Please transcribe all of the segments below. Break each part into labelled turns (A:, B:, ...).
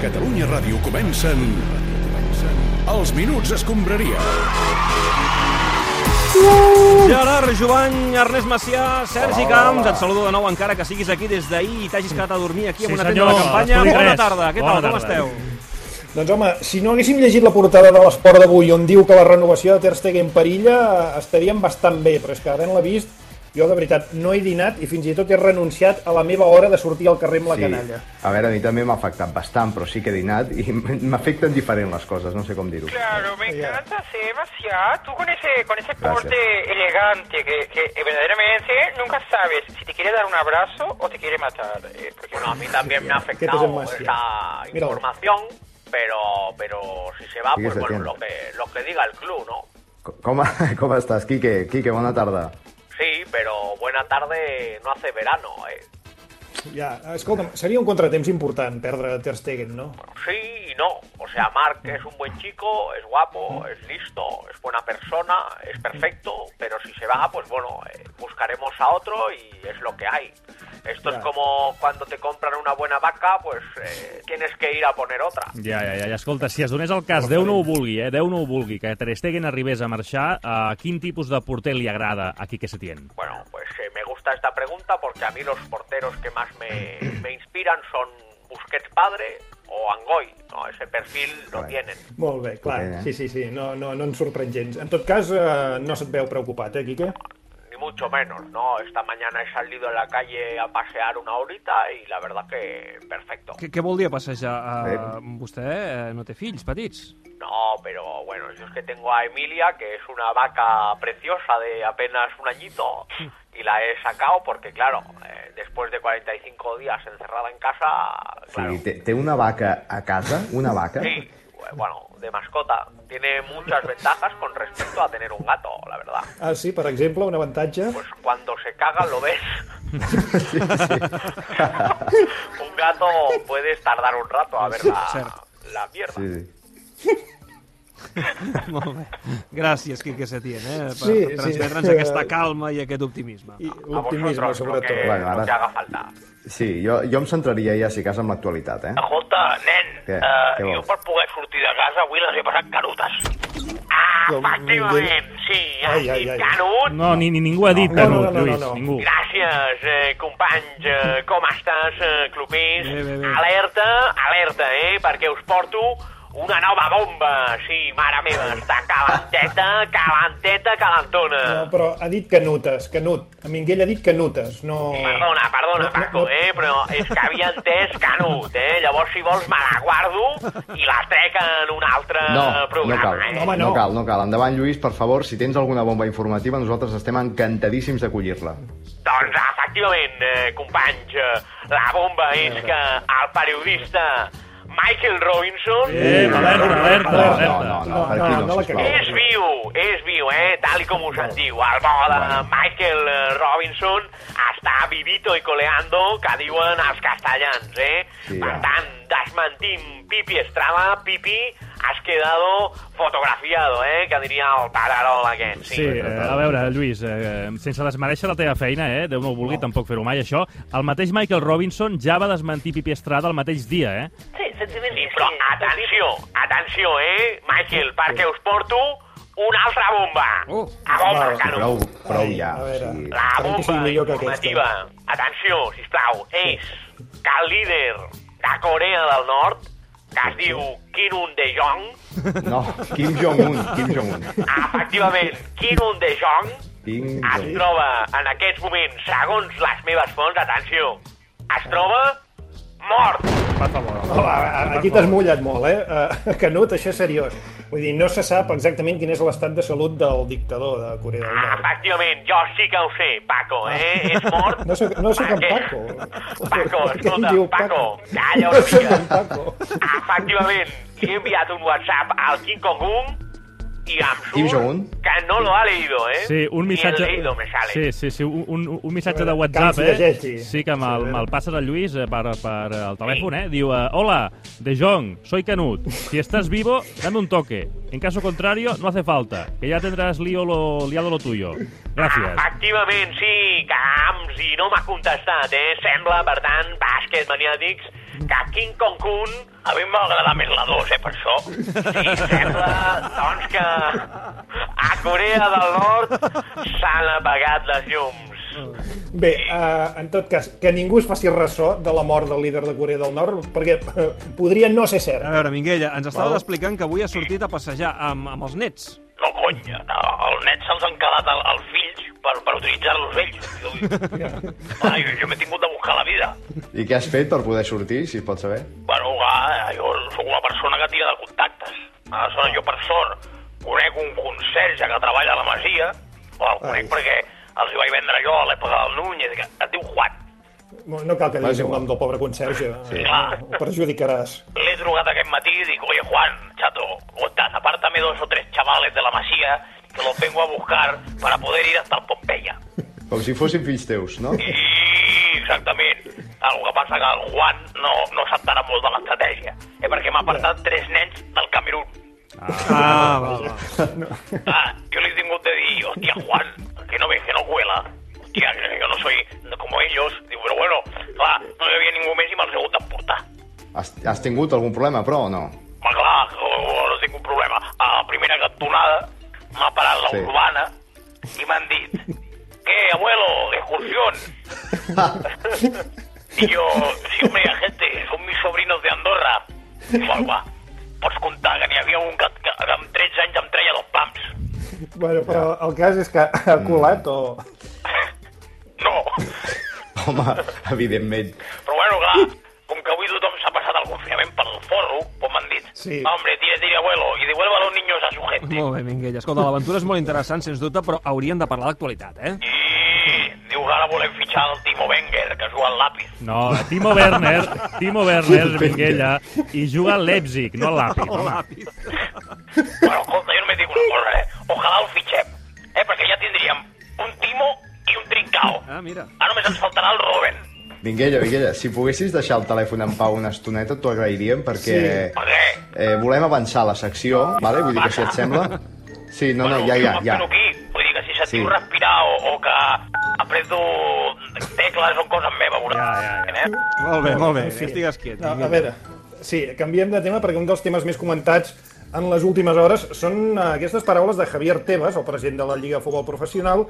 A: Catalunya Ràdio comencen... Els Minuts Escombraria.
B: Gerard Jovany, Ernest Macià, Sergi Camps, et saludo de nou encara que siguis aquí des d'ahir i t'hagis quedat a dormir aquí amb
C: Sí,
B: una tenda
C: senyor.
B: de campanya.
C: Estudi
B: Bona
C: res.
B: tarda, què tal,
C: Bona
B: com
C: tarda.
B: esteu?
D: Doncs home, si no haguéssim llegit la portada de l'Esport d'avui on diu que la renovació de Ter Stegen perilla, eh, estaríem bastant bé, però és que havent-la vist, jo de veritat no he dinat i fins i tot he renunciat a la meva hora de sortir al carrer amb la
E: Sí.
D: canalla.
E: A veure, a mi també m'ha afectat bastant, però sí que he dinat i m- m'afecten diferent les coses, no sé com dir-ho.
F: Claro, me encanta, Sebastián. Tú con ese, con ese
E: Gracias.
F: porte elegante que, que verdaderamente nunca sabes si te quiere dar un abrazo o te quiere matar. eh, porque
G: Bueno, a mí también me ha
D: ¿Qué te
G: afectado
D: llamas, tío?
G: esta
D: Mira.
G: información, pero, pero si se va,
E: Sí que
G: pues
E: se
G: bueno,
E: tiene.
G: lo que, lo que diga el club, ¿no?
E: Co- Com, com estàs, Quique? Quique, bona tarda.
G: Sí, pero buena tarde no hace verano. Eh.
D: Ja, escolta'm, seria un contratemps important perdre Ter Stegen, no?
G: Sí y no. O sea, Mark es un buen chico, es guapo, es listo, es buena persona, es perfecto, pero si se va, pues bueno, eh, buscaremos a otro y es lo que hay. Esto
D: Ya.
G: es como cuando te compran una buena vaca, pues eh, tienes que ir a poner otra.
C: Ja, ja, ja, ja. Escolta, si es donés el cas, Déu no ho vulgui, eh? Déu no ho vulgui, que Ter Stegen arribés a marxar, a quin tipus de porter li agrada a Quique Setién?
G: Bueno, pues eh, me gusta esta pregunta porque a mí los porteros que más me, me inspiran son Busquets padre o Angoy. No, ese perfil lo
E: Vale.
G: tienen.
D: Molt bé, clar,
E: Potent, eh?
D: sí, sí, sí, no, no, no ens sorprèn gens. En tot cas, eh, no se't veu preocupat, eh, Quique?
G: Ni mucho menos, ¿no? Esta mañana he salido a la calle a pasear una horita y la verdad que perfecto.
H: Què, què vol dir passejar?
E: Eh.
H: Uh, vostè eh, no té fills petits.
G: No, pero bueno, yo es que tengo a Emilia, que es una vaca preciosa de apenas un añito, y la he sacado porque, claro, eh, después de 45 días encerrada en casa,
E: O
G: claro,
E: sigui, té, té una vaca a casa? Una vaca?
G: Sí, bueno, de mascota. Tiene muchas ventajas con respecto a tener un gato, la verdad.
D: Ah, sí, per exemple, un avantatge...
G: Pues cuando se caga lo ves.
E: sí, sí.
G: un gato puedes tardar un rato a ver la,
H: Cierto.
G: la mierda.
E: sí, sí.
H: Molt bé. Gràcies, Quique Setién, eh, per,
D: Sí,
H: sí, per
D: sí.
H: transmetre'ns sí. aquesta calma i aquest optimisme.
D: I
G: A
D: l'optimisme,
G: vosotros, lo
D: sobretot.
G: que,
E: Bueno,
G: lo
E: ahora-
G: que haga falta.
E: Sí, jo, jo em centraria ja, si cas, amb l'actualitat, eh?
F: Escolta, nen,
E: Què?
F: eh,
E: Què
F: jo
E: vols?
F: per poder sortir de casa avui les he passat canutes. Ah,
D: Jo,
F: efectivament, sí, has
D: Doncs Ai, ai,
F: dit
D: ai.
F: canut.
C: No, ni, ni ningú ha dit,
E: No.
C: Canut,
D: No, no, no, no,
C: Lluís,
D: no.
C: ningú.
F: Gràcies, eh, companys. Eh, com estàs, eh, clubers?
H: Bé, bé, bé.
F: Alerta, alerta, eh, perquè us porto una nova bomba. Sí, mare meva, està calenteta, calenteta, calentona.
D: No, Eh, però ha dit canutes, canut. A Minguell ha dit canutes, no...
F: Perdona, perdona, Paco, eh, però és que havia entès Canut, eh? Llavors, si vols, me la guardo i la trec en un altre
E: No, no
F: programa,
E: cal.
F: eh?
D: home,
E: no
D: no.
E: cal, no cal. Endavant, Lluís, per favor, si tens alguna bomba informativa, nosaltres estem encantadíssims d'acollir-la.
F: Doncs efectivament, eh, companys, eh, la bomba és que el periodista Michael Robinson
C: Eh, alerta, alerta,
E: No, no, no, no,
C: alerta.
D: No,
E: per aquí
D: no,
E: no,
D: no la
E: sisplau.
D: cagueu.
F: és viu, és viu, eh? Tal i com us en diu, el bo de Michael eh, Robinson està vivito i coleando, que diuen els castellans, eh?
E: Sí,
F: per
E: ja.
F: tant, desmentim Pipi Estrada, Pipi, has quedado fotografiado, eh? Que diria el pararol aquest, sí.
C: Sí, eh, a veure, Lluís, eh, sense desmereixer la teva feina, eh, Déu no ho vulgui, tampoc fer-ho mai, això, el mateix Michael Robinson ja va desmentir Pipi Estrada el mateix dia, eh?
F: Sí, però atenció, atenció, eh, Michael, perquè us porto una altra bomba.
H: Oh.
F: A bomba,
D: Val.
F: Canut.
E: Prou, prou
D: Ai,
E: ja.
D: a
E: O
D: veure.
E: sigui,
F: La
D: Esperem que sigui
F: bomba
D: millor que
F: informativa, atenció, sisplau, és que el líder de Corea del Nord, que es diu Kim Un de Jong,
E: no, Kim Jong-un, Kim Jong-un.
F: Ah, efectivament, Kim Un de Jong
E: Kim
F: es
E: Jong-un.
F: troba en aquests moments, segons les meves fonts, atenció, es troba mort.
D: Home, aquí t'has mullat molt, eh? Eh, Canut, això és seriós. Vull dir, no se sap exactament quin és l'estat de salut del dictador de Corea del Nord.
F: Efectivament, jo sí que ho sé, Paco, eh? És mort.
D: No sóc, no sóc en
F: Perquè-
D: Paco.
F: Paco,
D: Per què em
F: escolta,
D: diu
F: Paco, calla
D: No
F: una
D: sóc
F: mica.
D: en Paco.
F: Efectivament, li he enviat un WhatsApp al Kim Jong-un i em
E: Kim
F: surt
E: Jong-un?
F: que no lo ha leído, eh?
C: Sí, un missatge...
F: Ni el leído me sale.
C: Sí, sí, sí, un, un, un missatge de
D: A veure,
C: WhatsApp,
D: que ens
C: eh?
D: llegeixi.
C: Sí, que me'l me passes al Lluís eh, per, per el telèfon,
F: Sí.
C: eh? Diu, eh, hola, De Jong, soy Canut. Si estás vivo, dame un toque. En caso contrario, no hace falta, que ya tendrás lío lo, liado lo tuyo. Gràcies.
F: Efectivament, sí, camps, i no m'ha contestat, eh? Sembla, per tant, bàsquet maniàtics, que King Kong Kun
G: A mi em va agradar més la 2, eh, per això. Sí, sembla, doncs, que a Corea del Nord s'han apagat les llums.
D: Bé, eh, en tot cas, que ningú es faci ressò de la mort del líder de Corea del Nord, perquè eh, podria no ser cert.
H: A veure, Minguella, ens estaves explicant que avui has sortit a passejar amb, amb els nets.
G: No, cony, els nets eh, se'ls han quedat al- als fills per, per utilitzar-los ells. Jo, ah, jo, jo m'he tingut de buscar la vida.
E: I què has fet per poder sortir, si es pot saber?
G: Bueno, va, jo sóc una persona que tira de contactes. Aleshores, jo per sort conec un conserge que treballa a la Masia, o el conec perquè els hi vaig vendre jo a l'època del Núñez, que es diu Juan.
D: No no cal que diguis
E: és
D: el
E: igual.
D: nom del pobre conserge, sí.
G: Clar.
D: ho perjudicaràs.
G: L'he trucat aquest matí i dic, oye, Juan, chato, ¿cómo estás? Apártame dos o tres chavales de la Masía que los vengo a buscar para poder ir hasta el Pompeya.
E: Com si fossin fills teus, no?
G: I exactament. El que passa que el Juan no, no s'entera molt de l'estratègia, eh, perquè m'ha apartat tres nens del Camerún.
H: Ah, va, va.
G: Ah, yo le tengo de decir, hostia, Juan, que no ves, que no cuela. Hostia, que yo no soy como ellos. Digo, pero bueno, va, no me veía ningún mes y me lo segundo puta.
E: Has, has tingut algun problema, però, o no?
G: Va, clar, jo no tinc un problema. A la primera cantonada m'ha parat la
E: Sí.
G: urbana i m'han dit, ¿qué, abuelo, de excursión? I jo, sí, hombre, gente, són mis sobrinos de Andorra. Diu, va, pots comptar que n'hi havia un que, que amb 13 anys em treia dos pams.
D: Bueno, però el cas és que ha colat o...
G: No,
E: Home, evidentment.
G: Però bueno, clar, com que avui tothom s'ha passat el confinament pel forro, com m'han dit,
D: Sí.
G: "Va, hombre, tira, tira, abuelo, y devuelva a los niños a su gente.
H: Molt bé, Minguella. Escolta, l'aventura és molt interessant, sens dubte, però hauríem de parlar d'actualitat, eh?
G: I diu que ara volem fitxar el Timo Wenger, que juga al lápiz.
C: No, Timo Werner, Timo Werner, Minguella, i juga al Leipzig, no al Lapi.
H: Ràpid.
G: Bueno, escolta, jo només dic una cosa, eh? Ojalà el fitxem, eh? Perquè ja tindríem un Timo i un Trincao.
H: Ah, mira.
G: Ara només ens faltarà el Robben.
E: Vinguella, Vinguella, si poguessis deixar el telèfon en pau una estoneta, t'ho agrairíem, perquè
G: Per què?
E: eh, volem avançar la secció, vale? vull dir que si et sembla... Sí, no, no, ja, ja, ja.
G: Però aquí, vull dir que si
E: Sí.
G: sentiu respirar o, o que apreto tecles o coses meves, veurà.
C: Ja, ja,
G: Eh?
H: Molt bé, molt bé. Estigues quiet.
D: No, a
H: Minguella.
D: veure, sí, canviem de tema perquè un dels temes més comentats en les últimes hores són eh, aquestes paraules de Javier Tebas, el president de la Lliga de Futbol Professional,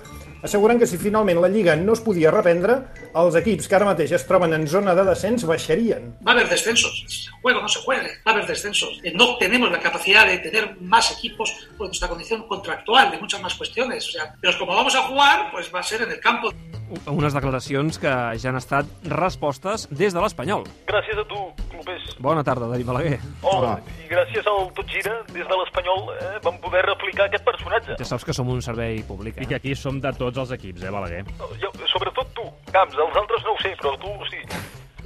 D: assegurant que si finalment la Lliga no es podia reprendre, els equips que ara mateix es troben en zona de descens baixarien.
I: Va a haber descensos. Juego no se juegue, va a haber descensos. Eh, No tenemos la capacidad de tener más equipos por nuestra condición contractual, de muchas más cuestiones. O sea, pero como vamos a jugar, pues va a ser en el campo.
H: Unes declaracions que ja han estat respostes des de l'Espanyol.
J: Gràcies a tu, clubers.
H: Bona tarda, David Balaguer.
J: Hola. I gràcies al Tot Gira, des de l'Espanyol, eh, vam poder replicar aquest personatge.
H: Ja saps que som un servei públic,
C: I
H: eh?
C: que aquí som de tots els equips, eh, Balaguer?
J: Jo, sobretot tu, Camps, els altres no ho sé, però tu sí.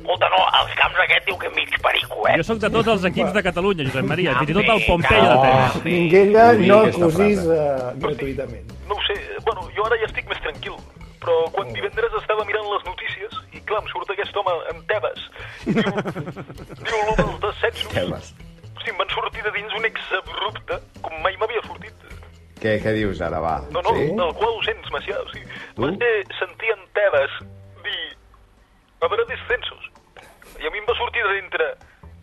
G: Escolta, no, als camps aquest diu que mig perico, eh?
C: Jo sóc de tots els equips de Catalunya, Josep Maria, fins i tot el Pompeia de Tenes.
D: Minguella,
E: Vull dir
D: no
E: aquesta
D: acusis
E: frase.
D: eh, gratuïtament.
J: No ho sé, eh, bueno, jo ara ja estic més tranquil. Però quan divendres estava mirant les notícies i, clar, em surt aquest home amb Tebas. i Diu, diu l'home dels descensos.
E: Tebas.
J: Sí, em van sortir de dins un exabrupte, com mai m'havia sortit.
E: Què, què dius ara, va?
J: No, no,
E: Sí?
J: del qual ho sents, Macià. O sigui,
E: Tu?
J: vaig eh, sentir en Tebas dir... Habrà descensos. I a mi em va sortir de dintre...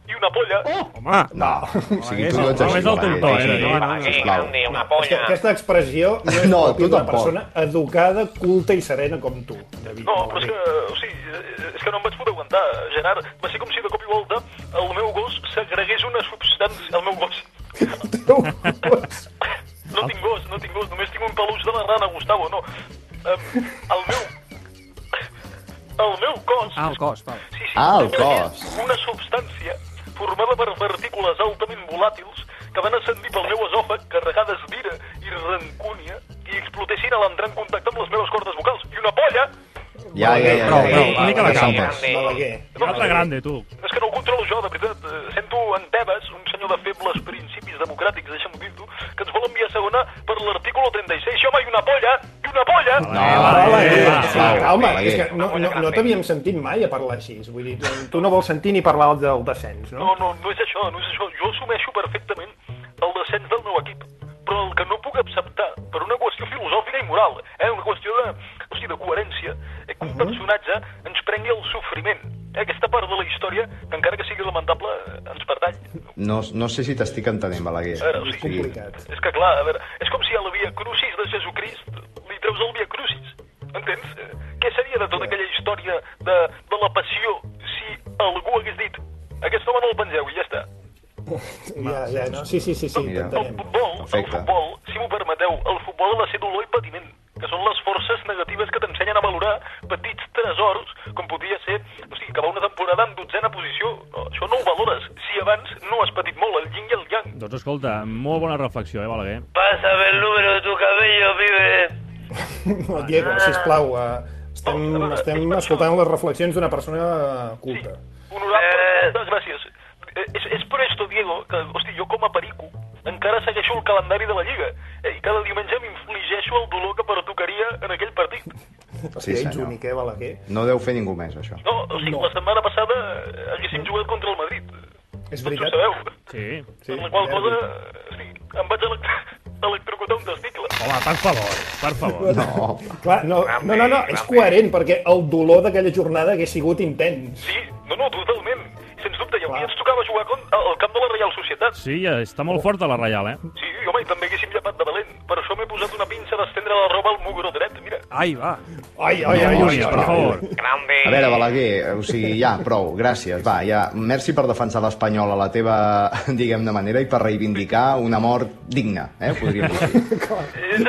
J: I una polla... Oh!
H: Home,
E: No, o sigui, tu no ets
C: no,
E: així.
C: és
E: Balaguer,
C: el Tortó,
E: sí,
C: eh,
E: sí.
C: no, no,
G: Va, sí,
E: Sisplau.
G: Gandhi, una
D: Aquesta,
G: polla.
D: aquesta expressió no és
E: No,
D: no,
E: tu
D: d'una
E: tampoc.
D: persona educada, culta i serena com tu, David.
J: No, però és que, o sigui, eh, és que no em vaig poder aguantar, Gerard. Va ser com si de cop i volta el meu gos s'agregués una substància al meu gos. No tinc gos, no tinc gos, només tinc un peluix de la rana, Gustavo, no. Em, El meu... El meu cos...
H: ah, el cos, val.
J: Sí, sí,
E: Ah, el
J: s'agregués
E: cos.
J: Una substància formada per partícules altament volàtils que van ascendir pel meu esòfag carregades d'ira i rancúnia i explotessin a l'entrar en contacte amb les meves cordes vocals. I una polla...
E: Ja, ja, ja, ja,
C: Prou,
E: ja,
C: prou,
E: ja,
C: una mica
E: ja,
C: la
E: ja,
C: calma.
E: ja, ja,
D: Balaguer.
C: Alta grande, tu.
J: És que no ho controlo jo, de veritat. Eh, Sento en Tebas, un senyor de febles principis democràtics, deixa'm dir-ho, que ens vol enviar a segona per l'article 36. Això mai una polla, i una polla!
E: No,
D: Balaguer,
E: va,
D: sí,
E: va,
D: calma,
E: Balaguer.
D: és que no, no, no t'havíem sentit mai a parlar així. Vull dir, tu- tu no vols sentir ni parlar del descens, no?
J: No, no, no és això, no és això. Jo assumeixo perfectament el descens del meu equip, però el que no puc acceptar, per una qüestió filosòfica i moral, eh, una qüestió de, o sigui, de coherència, eh, que un personatge ens prengui el sofriment. Eh, aquesta part de la història, que encara que sigui lamentable, eh, ens pertany.
E: No, no sé si t'estic entenent, Balaguer.
J: A veure, o sigui, és que clar, a veure, és com si a la Via Crucis de Jesucrist li treus el Via Crucis, entens? Eh, Què seria de tota aquella història de, de la passió si algú hagués dit aquest home no el pengeu i ja està?
D: Ja, ja, no? Sí, sí, sí, sí,
E: Mira.
D: t'entenem.
J: Futbol, el futbol, si m'ho permeteu, el futbol ha de ser dolor i patiment, que són les forces negatives que t'ensenyen a valorar petits tresors, com podria ser, o sigui, que va una temporada en dotzena posició, No, això no ho valores, si abans no has patit molt el yin i el yang.
C: Doncs escolta, molt bona reflexió, eh, Balaguer?
K: Pásame el número de tu cabello, pibe.
D: No, Diego, sisplau, eh, estem, estem escoltant les reflexions d'una persona culta.
J: Honorable, moltes gràcies. Eh, És, és per esto, Diego, que, hosti, jo com a perico encara segueixo el calendari de la Lliga eh, i cada diumenge m'infligeixo el dolor que pertocaria en aquell partit.
E: Sí,
D: ets
E: senyor.
D: únic, eh, Balaguer?
E: No deu fer ningú més, això.
J: No, o sigui, no. la setmana passada eh, haguéssim jugat contra el Madrid.
D: És
J: Tots ho
D: veritat.
J: sabeu.
C: Sí.
J: Sí, la qual cosa, eh, hosti, em vaig elec electrocutar un testicle.
C: Home, per favor, per favor.
E: No.
D: Clar, no, no, no, no, és coherent, perquè el dolor d'aquella jornada hagués sigut intens.
J: Sí, no, no, totalment. Sens dubte, i avui ens tocava jugar con- al al camp de la Reial Societat.
C: Sí, ja està molt forta la Reial, eh?
J: Sí, home, i també haguéssim llepat de valent. Per això m'he posat una pinça d'estendre la roba al mugro dret, mira.
B: Ai, va.
D: Ai, ai, ai, ai,
C: Ui,
D: ai,
C: per
D: ai.
C: favor.
E: A veure, Balaguer, o sigui, ja, prou, gràcies, va, ja, merci per defensar l'Espanyol a la teva, diguem-ne, manera i per reivindicar una mort digna, eh, podríem dir.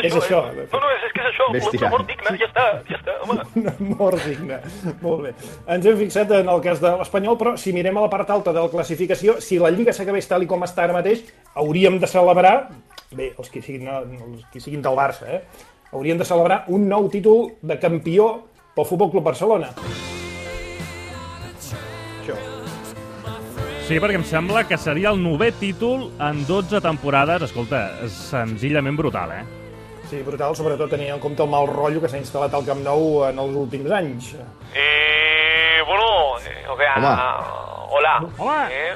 D: És això,
J: eh? No, no, és, és que és això,
E: Ves
J: volem
E: tirant.
J: l'amor digna, ja està, ja està, home.
D: Una mort digna. Molt bé. Ens hem fixat en el cas de l'Espanyol, però si mirem a la part alta de la classificació, si la Lliga s'acabés tal i com està ara mateix, hauríem de celebrar, bé, els que siguin, els que siguin del Barça, eh? hauríem de celebrar un nou títol de campió pel Futbol Club Barcelona. Això.
C: Sí, perquè em sembla que seria el novè títol en 12 temporades. Escolta, és senzillament brutal, eh?
D: Sí, brutal, sobretot tenint en compte el mal rotllo que s'ha instal·lat al Camp Nou en els últims anys.
L: Eh, bueno, eh, o sea, hola.
C: Hola.
L: Eh,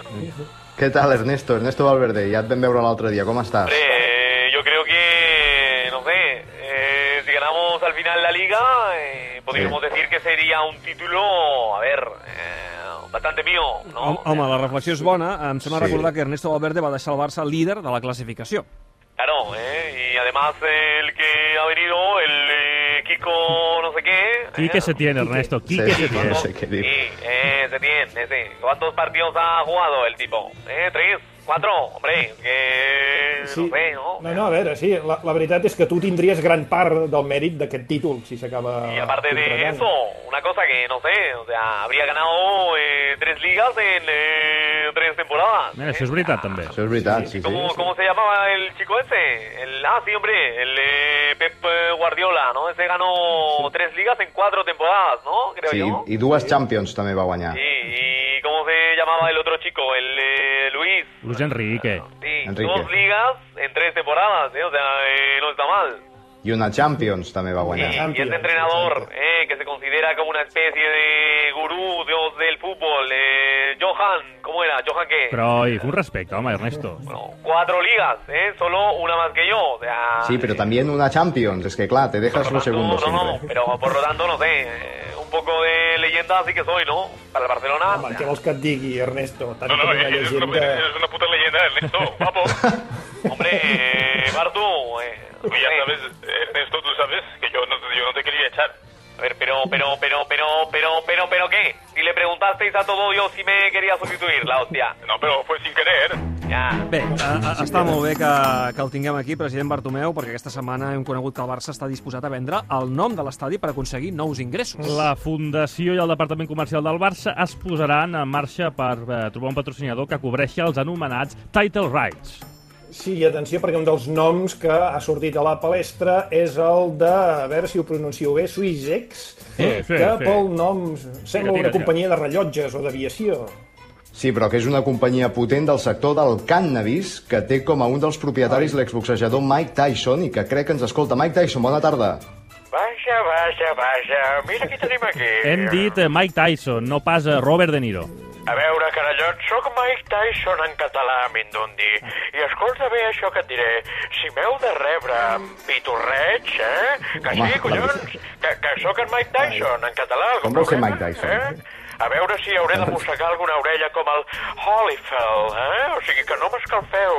E: Què tal, Ernesto? Ernesto Valverde, ja et vam veure l'altre dia, com estàs?
L: hombre, eh, yo creo que, no sé, eh, si ganamos al final la liga, eh, podríamos decir que sería un título, a ver, eh, bastante mío, ¿no?
B: Home, home, la reflexió és bona. Em sembla
E: Sí.
B: recordar que Ernesto Valverde va deixar el Barça líder de la classificació.
L: Claro, ¿eh? y además el que ha venido, el eh, Kiko no sé qué.
C: Qui que
L: ¿eh?
C: se tiene, Ernesto? Qui que se tiene?
E: no sé què dir.
L: Sí, eh, se tiene, ese. ¿Cuántos partidos ha jugado el tipo? ¿Eh? ¿Tres? ¿Cuatro? Hombre, que... No sé, ¿no?
D: no, no, a veure, sí, la, la veritat és que tu tindries gran part del mèrit d'aquest títol, si s'acaba...
L: Y aparte de
D: concretant.
L: eso, una cosa que no sé, o sea, habría ganado eh, tres ligas en eh, tres temporadas.
C: Mira,
L: ¿eh?
C: això és veritat, també.
E: Això és veritat, sí, sí.
L: ¿Cómo, ¿Cómo se llamaba el chico ese? El, ah, sí, hombre, el eh, Pep eh, Guardiola, ¿no? Ese ganó tres ligas en cuatro temporadas, ¿no? Creo
E: Sí,
L: yo.
E: i dues Champions també va guanyar.
L: Sí, ¿y cómo se llamaba el otro chico? El eh, Luis.
C: Luis Enrique.
L: Sí,
E: Enrique.
L: dos ligas en tres temporadas, ¿eh? O sea, eh, no está mal.
E: I una Champions també va
L: Sí,
E: guanyar.
L: y este entrenador, eh, que se considera como una especie de gurú dios del fútbol, eh, Johan, ¿cómo era? ¿Johan qué?
C: Però, i un respecte, home, Ernesto.
L: Bueno, cuatro ligas, ¿eh? Solo una más que yo, o sea...
E: Sí, pero también una Champions, es que clar, te dejas
L: por lo
E: lo
L: tanto,
E: segundo
L: no, no,
E: siempre.
L: pero por lo tanto, no sé, eh, un poco de leyenda sí que soy, ¿no? Para el Barcelona...
D: Home,
L: o
D: què
L: sea,
D: vols que et digui, Ernesto? Tant
J: No, no,
D: com una
J: eres una,
D: llegenda...
J: eres una puta leyenda, Ernesto, guapo.
L: hombre, eh, Bartu... eh, no
J: Y ya
L: sé.
J: sabes, Ernesto, tú sabes que yo no, yo no te quería echar.
L: A ver, pero, pero, pero, pero, pero, pero, pero, ¿qué? Si le preguntasteis a todo yo si me quería sustituir, la hostia.
J: No, pero fue sin querer.
L: Ya.
B: Bé, a, a, està molt bé que, que el tinguem aquí, president Bartomeu, perquè aquesta setmana hem conegut que el Barça està disposat a vendre el nom de l'estadi per aconseguir nous ingressos.
C: La Fundació i el Departament Comercial del Barça es posaran en marxa per eh, trobar un patrocinador que cobreixi els anomenats Title Rights.
D: Sí, i atenció, perquè un dels noms que ha sortit a la palestra és el de, a veure si ho pronuncio bé, Suizex,
C: Sí, sí,
D: que
C: sí.
D: pel nom sembla
C: tira,
D: una
C: tira.
D: companyia de rellotges o d'aviació.
E: Sí, però que és una companyia potent del sector del cannabis que té com a un dels propietaris l'exboxejador Mike Tyson i que crec que ens escolta. Mike Tyson, bona tarda.
K: Vaja, vaja, vaja. Mira qui tenim aquí.
C: Hem dit eh, Mike Tyson, no pas eh, Robert De Niro.
K: A veure, carallot, sóc Mike Tyson en català, Mindundi. I escolta bé això que et diré. Si m'heu de rebre amb pitorreig, eh? Que
E: Home,
K: sí, collons, que, que sóc en Mike Tyson en català.
E: Com vol ser
K: problema,
E: Mike Tyson?
K: Eh? A veure si hauré de mossegar alguna orella com el Holyfield, eh? O sigui que no m'escalfeu.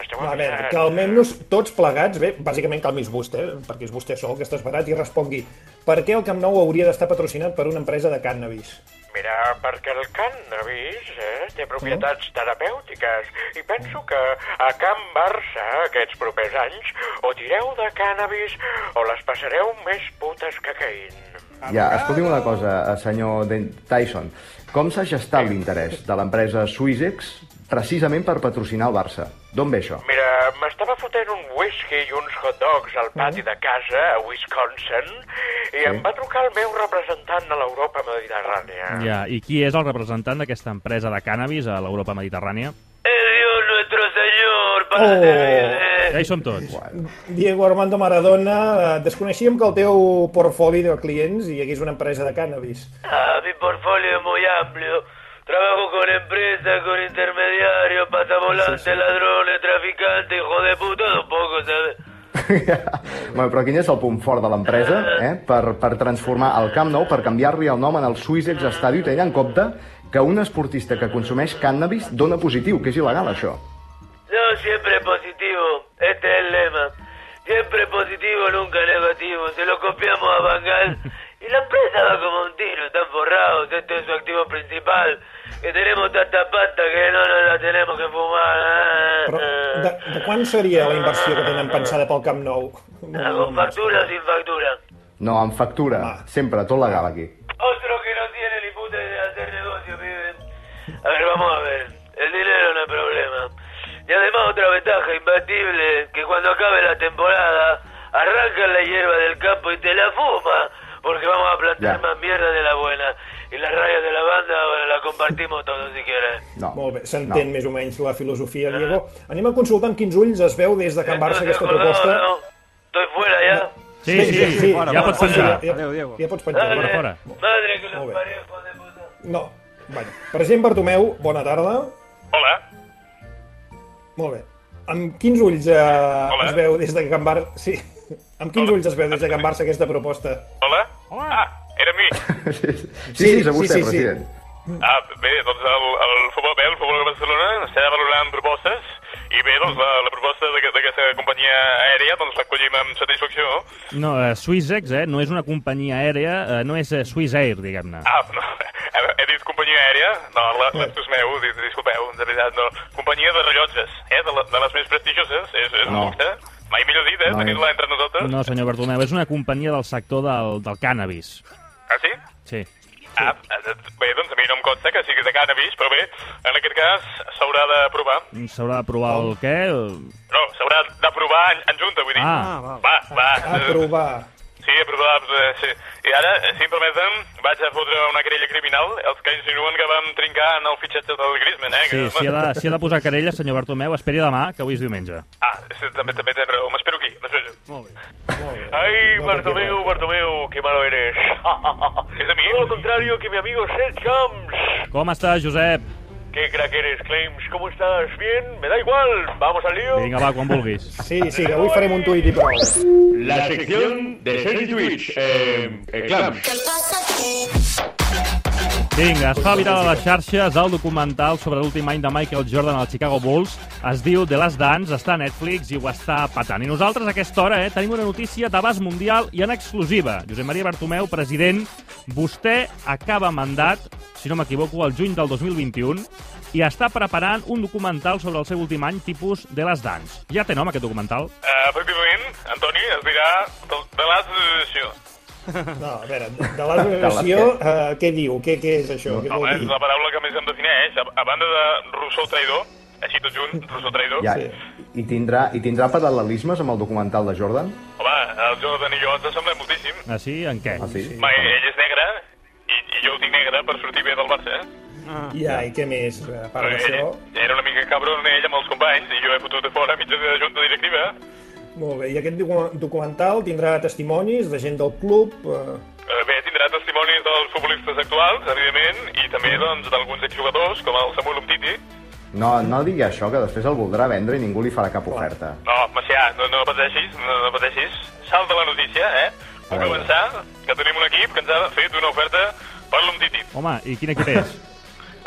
K: Esteu
D: Va, a veure, calmem-nos tots plegats. Bé, bàsicament calmis vostè, perquè és vostè sol que estàs barat i respongui. Per què el Camp Nou hauria d'estar patrocinat per una empresa de cannabis?
K: Mira, perquè el cannabis eh, té propietats terapèutiques i penso que a Can Barça aquests propers anys o tireu de cannabis o les passareu més putes que Caín.
E: Ja, escolti'm una cosa, eh, senyor Den- Tyson. Com s'ha gestat l'interès de l'empresa Suizex precisament per patrocinar el Barça? D'on ve això?
K: Mira, m'estava fotent un whisky i uns hot dogs al pati de casa a Wisconsin i em va trucar el meu representant a l'Europa Mediterrània.
C: Ja, i qui és el representant d'aquesta empresa de cànnabis a l'Europa mediterrània?
D: Oh!
C: Ja hi som tots.
D: Diego Armando Maradona, eh, desconeixíem que el teu portfoli de clients hi hagués una empresa de cannabis.
M: Ah, mi portfolio es muy amplio. Trabajo con empresas, con intermediarios, pasavolantes, ladrones, traficantes, hijo de puta, un poco, ¿sabes?
E: Bueno, però quin és el punt fort de l'empresa eh? per, per transformar el Camp Nou, per canviar-li el nom en el Suizex Stadium, tenint en compte que un esportista que consumeix cànnabis dona positiu, que és il·legal, això.
M: No, siempre positivo. Este es el lema. Siempre positivo, nunca negativo. Se lo copiamos a Bangal. Y la empresa va como un tiro, están forrados. Este es su activo principal. Que tenemos tanta pasta que no nos la tenemos que fumar. ah,
D: Però
M: ah.
D: de, de quan seria la inversió que tenen pensada pel Camp Nou?
M: Ah, ¿Con factura o sin factura?
E: No, amb factura. Sempre, tot legal aquí.
M: Otro que no tiene ni puta idea de hacer negocio, pibe. A ver, vamos a ver. El dinero no es problema. Y además otra ventaja imbatible, que cuando acabe la temporada, arranca la hierba del campo y te la fuma. Porque vamos a plantar más mierda de la buena. Y las rayas de la banda, bueno, la compartimos todos si quieres.
E: No.
D: Molt bé, s'entén no. més o menys la filosofia, Diego. Anem a consultar amb quins ulls es veu des de Can Barça aquesta proposta.
M: Estoy fuera ya.
C: Sí, sí, sí, ja pots penjar.
D: Ja, ja, ja pots penjar.
C: Fora, fora.
M: Madre que los parió.
D: No, bueno. President Bartomeu, bona tarda.
N: Hola.
D: Molt bé. Amb quins ulls eh, es veu des de Can Barça... Sí. Amb quins ulls es veu des de Can Barça aquesta proposta?
N: Hola? Hola. Ah, era mi.
E: Sí, sí, és a vostè, president.
N: Ah, bé, doncs el, el futbol, bé, el futbol de Barcelona s'ha de valorar amb propostes i bé, doncs la, la proposta d'aquest- d'aquesta companyia aèria doncs l'acollim amb satisfacció.
C: No, eh, SwissX, eh, no és una companyia aèria, eh, no és eh, Swiss Air, diguem-ne.
N: Ah, no, he, he dit companyia aèria, no, la- l'absus meu, di- disculpeu, de veritat, no. Companyia de rellotges, eh, de, la, de les més prestigioses, és, és
C: No.
N: no. Mai millor dit, eh,
C: No.
N: tenir-la entre nosaltres.
C: No, senyor Bartomeu, és una companyia del sector del, del cànnabis.
N: Ah, sí?
C: Sí.
N: Ah, eh, bé, doncs a mi no em consta que sigui de cannabis, però bé, en aquest cas s'haurà d'aprovar.
C: S'haurà d'aprovar el què? El-
N: No, s'haurà d'aprovar en, en junta, vull dir.
C: Ah.
N: va, va. va.
D: Aprovar.
N: Sí, aprovar, eh, sí. I ara, eh, si em permeten, vaig a fotre una querella criminal, els que insinuen que vam trincar en el fitxatge del Griezmann, eh?
C: Sí,
N: que-
C: si ha, de, si ha de posar querella, senyor Bartomeu, esperi demà, que avui és diumenge.
N: Ah, sí, també, també té raó, m'espero aquí. m'espero.
C: Molt bé.
N: Ay,
C: No,
N: Bartomeu, Bartomeu, qué malo eres. es de Miguel. Todo lo contrario que mi amigo Seth Shams.
C: Com està, Josep?
N: Qué crack eres, Claims. ¿Cómo estás? ¿Bien? Me da igual. Vamos al lío.
C: Vinga, va, quan vulguis.
D: Sí, sí, que avui farem un tuit i prou.
N: La sección de Sergi Twitch. Eh, eh, Clams.
C: Vinga, es fa viral a les xarxes el documental sobre l'últim any de Michael Jordan als Chicago Bulls. Es diu The Last Dance, està a Netflix i ho està patant. I nosaltres a aquesta hora eh, tenim una notícia d'abast mundial i en exclusiva. Josep Maria Bartomeu, president, vostè acaba mandat, si no m'equivoco, el juny del 2021 i està preparant un documental sobre el seu últim any tipus The Last Dance. Ja té nom aquest documental?
N: Eh, efectivament, Antoni, es dirà del- de l'associació.
D: No, a veure, de l'associació, eh, què diu? Què, què és això? Què vol
N: Home, és
D: dir?
N: la paraula que més em defineix. A, a banda de Rousseau traïdor, així tot junt, Rousseau traïdor.
E: Ja, I tindrà, i tindrà paral·lelismes amb el documental de Jordan?
N: Home, el Jordan i jo ens assemblem moltíssim.
C: Ah, sí? En què?
E: Ah, sí?
N: Home, ell és negre i, i jo ho tinc negre per sortir bé del Barça, eh?
D: Ja, i què més? Eh, A part d'això...
N: Era una mica cabron ell amb els companys i jo he fotut a fora mitja de junta directiva.
D: Molt bé, i aquest docu- documental tindrà testimonis de gent del club... Eh...
N: Eh, Bé, tindrà testimonis dels futbolistes actuals, evidentment, i també doncs, d'alguns exjugadors, com el Samuel Umtiti.
E: No, no digui això, que després el voldrà vendre i ningú li farà cap oferta.
N: No, Macià, no, no pateixis, no, no pateixis. Salta la notícia, eh? Puc avançar que tenim un equip que ens ha fet una oferta Parla amb Titi.
C: Home, i quin equip és?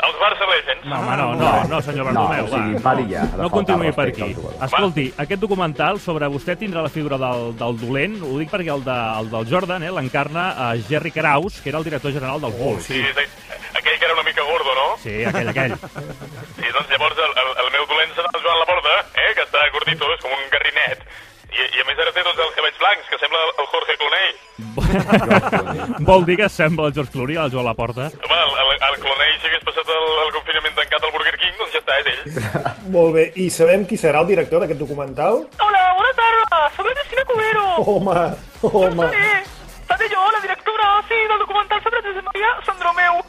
N: Els Barça Legends.
C: No, home, no, no, no, senyor Bartomeu.
E: No, o sigui,
C: va,
E: pari ja, ha de
C: no
E: faltar
C: continuï per
E: respecte
C: aquí.
E: al jugador.
C: Escolti, aquest documental sobre vostè tindrà la figura del, del dolent, ho dic perquè el, de, el del Jordan eh, l'encarna eh, Jerry Kraus, que era el director general
E: Oh,
C: del Bulls.
N: Sí, és aqu- aquell que era una mica gordo, no?
C: Oh, Sí, aquell, aquell.
N: I doncs llavors el, el, el meu dolent serà el Joan Laporta, eh, que està gordito, és com un garrinet. I, I a més ara té doncs els cabells blancs, que sembla el Jorge Clooney.
C: Vol dir que sembla el George Clooney, el Joan Laporta.
N: Home, el, el, el Clooney si hagués passat el, el confinament tancat al Burger King, doncs ja està, és ell.
D: Molt bé, i sabem qui serà el director d'aquest documental?
O: Hola, buenas tardes. Soy Cristina Cubero.
D: Home, home...
O: Seré jo, la directora, sí, del documental sobre Josep Maria Sandromeu.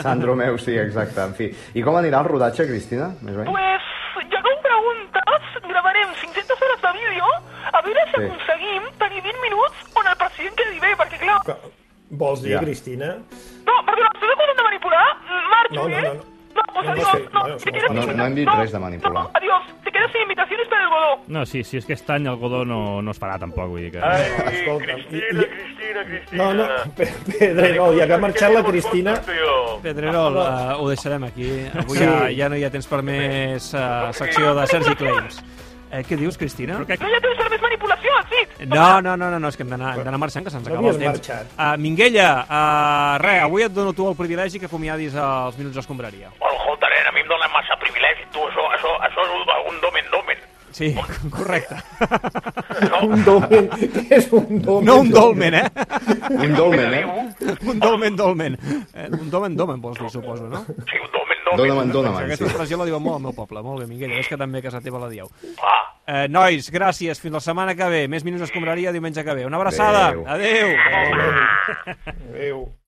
E: Sandro meu, sí, exacte, en fi. I com anirà el rodatge, Cristina? Més bé?
O: Pues, ja que ho preguntes, gravarem 500 hores de vídeo a veure si
E: Sí.
O: aconseguim tenir 20 minuts on el president quedi bé, perquè clar...
D: Vols dir,
E: Ja.
D: Cristina?
O: No, perdona, estàs acusant de manipular? Marxo,
D: No, no,
O: eh?
D: no.
O: No, pues
D: No, no
O: adiós,
D: sé.
O: no,
D: Bueno,
O: te quedas
E: No,
O: sin...
E: no hem dit res de manipular.
O: Adiós, te quedas sin invitaciones para el godó.
C: No, sí, sí, és que aquest any el Godó no, no es farà tampoc, vull dir que...
K: Ai,
D: Escolta'm,
K: Cristina, Cristina, Cristina.
D: No, no, Pe- Pedrerol, ja que ha marxat la Cristina...
B: Pedrerol,
O: Ah,
B: uh, ho deixarem aquí. Avui
D: Sí.
B: ja, ja no hi ha temps per més uh, secció de Sergi Claims. Eh, què dius, Cristina?
O: No hi ha temps per més manipulació, sí.
B: No, no, no, no, no és que hem d'anar hem d'anar marxant, que se'ns
D: No
B: acaba el
D: havies
B: temps. Uh, Minguella, uh, re, avui et dono tu el privilegi que acomiadis els minuts d'escombraria.
G: Bueno, joder, nena, a mi em dóna massa privilegi, tu, això, això, això és un, un domen-domen.
B: Sí, correcte.
D: Un dolmen, què és un dolmen?
B: No un dolmen, eh?
E: Un dolmen, eh?
B: Un dolmen, dolmen. Eh, un dolmen, dolmen, vols dir, suposo, no?
E: Dóna'm, dóna'm,
B: Aquesta
E: sí.
B: expressió la diuen molt al meu poble. Molt bé, Minguella, és que també a casa teva la dieu. Eh, nois, gràcies. Fins la setmana que ve. Més minuts d'escombraria diumenge que ve. Una abraçada.
E: Adéu.
B: Adéu.
D: Adéu.